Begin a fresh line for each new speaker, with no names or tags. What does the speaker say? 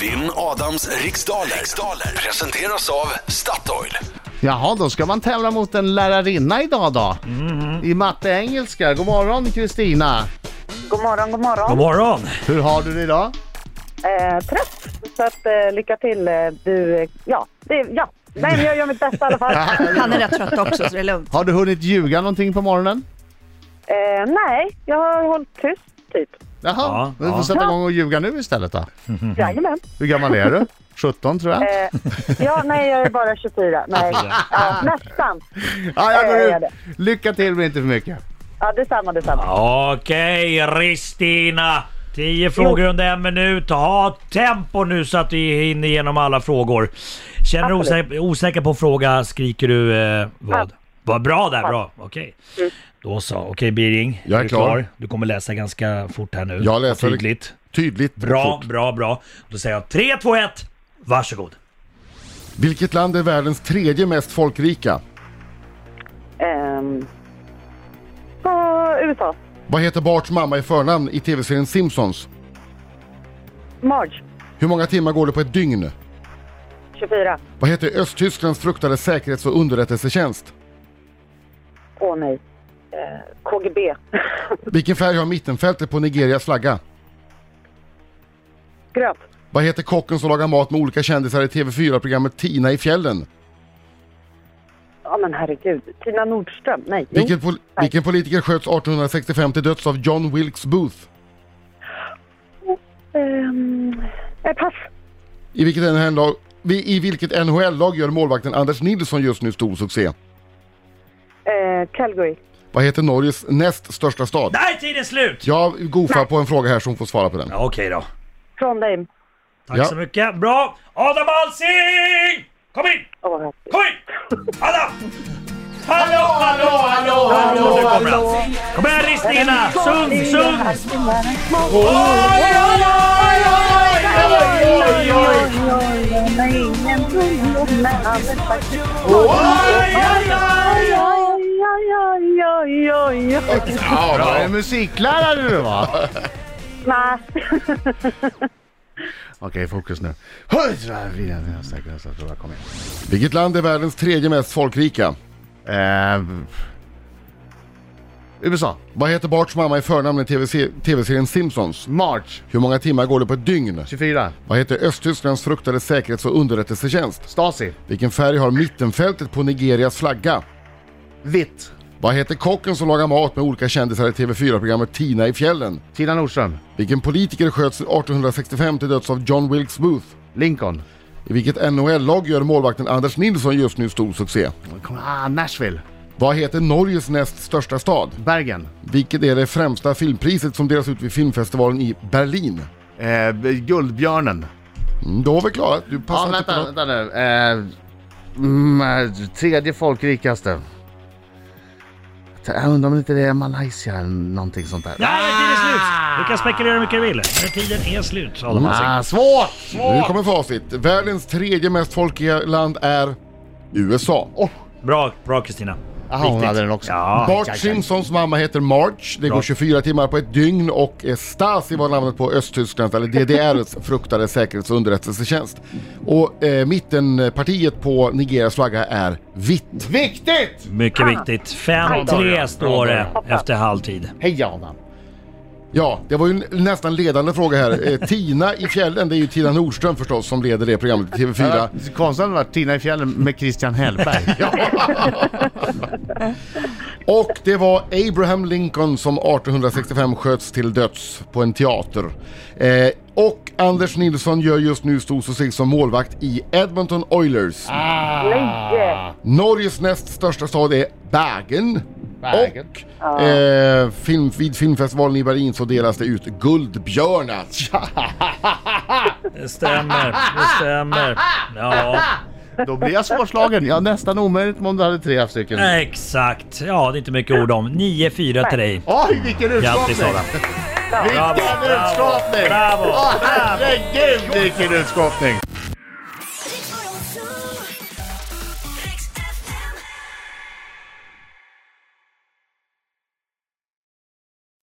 Vinn Adams riksdaler. riksdaler presenteras av Statoil.
Jaha, då ska man tävla mot en lärarinna idag då. I matte engelska. God morgon Kristina.
God morgon, god morgon.
God morgon!
Hur har du det idag?
Eh, trött, så att, eh, lycka till. eh, Du, eh, ja, det, ja. Nej, men jag gör mitt bästa i alla fall.
Han är rätt trött också så det är lugnt.
Har du hunnit ljuga någonting på morgonen?
Eh, nej, jag har hållit tyst, typ.
Jaha,
Ja,
du får
ja.
sätta igång och ljuga nu istället då.
Jajamän.
Hur gammal är du? 17 tror jag.
Eh, ja, nej, jag är bara 24. Nej, ja, nästan.
Ja, jag
eh,
går
det.
ut. Lycka till men inte för mycket.
Ja, detsamma, detsamma.
Okej, Ristina! 10 frågor under en minut. Ha tempo nu så att vi hinner igenom alla frågor. Känner du
Absolut.
osäker, osäker på fråga skriker du eh, vad?
Pass.
Vad bra där, bra. Okej. Då så. Okej Biring,
Jag är
du
klar.
Du kommer läsa ganska fort här nu.
Jag läser-
Tydligt.
Tydligt. och
Bra,
fort.
bra, bra. Då säger jag 3, 2, 1. Varsågod.
Vilket land är världens tredje mest folkrika?
Ehm, på USA.
Vad heter Barts mamma i förnamn i tv-serien Simpsons?
Marge,
Hur många timmar går det på ett dygn?
24.
Vad heter Östtysklands fruktade säkerhets och underrättelsetjänst?
Åh, nej. Eh, KGB.
Vilken färg har mittenfältet på Nigerias flagga?
Gröt.
Vad heter kocken som lagar mat med olika kändisar i TV4-programmet Tina i fjällen?
Ja, men herregud. Tina Nordström. Nej. jo.
Vilken, pol- vilken politiker sköts 1865 till döds av John Wilkes Booth?
Ehm, eh, pass.
I vilket NHL-lag vi- i vilket NHL-lag gör målvakten Anders Nilsson just nu stor succé?
Eh, Calgary.
Vad heter Norges näst största stad?
Där är tiden slut!
Jag gofar på en fråga här som får svara på den.
Ja, Okej då.
Trondheim.
Tack
Ja.
så mycket. Bra! Adam Alsing! Kom in!
Åh, herregud.
Kom in! Adam! Hallå, hallå, hallå, hallå, nu kommer han. Kom igen Kristina! Sjung, sjung! Oj, oj, oj, oj, oj, oj, oj! Oj, oj, oj, oj.
Ja,
Ja, du är
bra.
musiklärare du va?
Nej.
Okej, fokus nu. Hundra vinnare, vinnare, säkra, så tror jag kom igen.
Vilket land är världens tredje mest folkrika?
Eh, USA.
Vad heter Barts mamma i förnamn i TV-se- tv-serien Simpsons?
March.
Hur många timmar går det på ett dygn?
24.
Vad heter Östtysklands fruktade säkerhets och underrättelsetjänst?
Stasi.
Vilken färg har mittenfältet på Nigerias flagga?
Vitt.
Vad heter kocken som lagar mat med olika kändisar i TV4-programmet Tina i fjällen?
Tina Nordström.
Vilken politiker sköts 1865 till döds av John Wilkes Booth?
Lincoln.
I vilket NHL-lag gör målvakten Anders Nilsson just nu stor succé?
Kom- Ah, Nashville.
Vad heter Norges näst största stad?
Bergen.
Vilket är det främsta filmpriset som delas ut vid filmfestivalen i Berlin?
Eh, guldbjörnen.
Mm, då har vi klarat. Du
Ja,
passar inte på
vänta,
något.
vänta nu. Eh, mm, eh, tredje folkrikaste. Jag undrar om inte det är Malaysia eller någonting sånt där.
Nej, men tiden är slut! Du kan spekulera hur mycket du vill. Men tiden är slut, Adam Alsing.
Ah, svårt!
Nu
svårt.
kommer facit. Världens tredje mest folkiga land är USA.
Bra, bra Kristina.
Aha, hon
Viktigt.
hade den också.
Ja.
Bart Simpsons mamma heter March. Det går
Bra.
24 timmar på ett dygn och eh, Stasi var namnet på Östtysklands, eller DDRs fruktade säkerhets och underrättelsetjänst. Och eh, mittenpartiet på Nigerias flagga är vitt.
Viktigt!
Mycket viktigt. 5-3 står det efter halvtid.
Hej Adam.
Ja, det var ju n- nästan ledande fråga här. Eh, Tina i fjällen, det är ju Tina Nordström förstås som leder det programmet i TV4.
Konstigt hade varit Tina i fjällen med Christian Hellberg.
Och det var Abraham Lincoln som 1865 sköts till döds på en teater. Eh, och Anders Nilsson gör just nu stor succé som målvakt i Edmonton Oilers.
Nej.
Norges näst största stad är Bergen.
Bergen.
Och eh, film, vid filmfestivalen i Berlin så delas det ut Guldbjörnar.
Det stämmer, det stämmer. Ja,
Då blir jag svårslagen. Ja, nästan omöjligt om du hade tre stycken.
exakt. Ja, det är inte mycket ord om. 9-4 till dig.
Oj, vilken utskåpning!
Grattis Adam.
Vilken
Bravo, bravo,
utskåpning!
bravo.
Åh, herregud vilken utskåpning!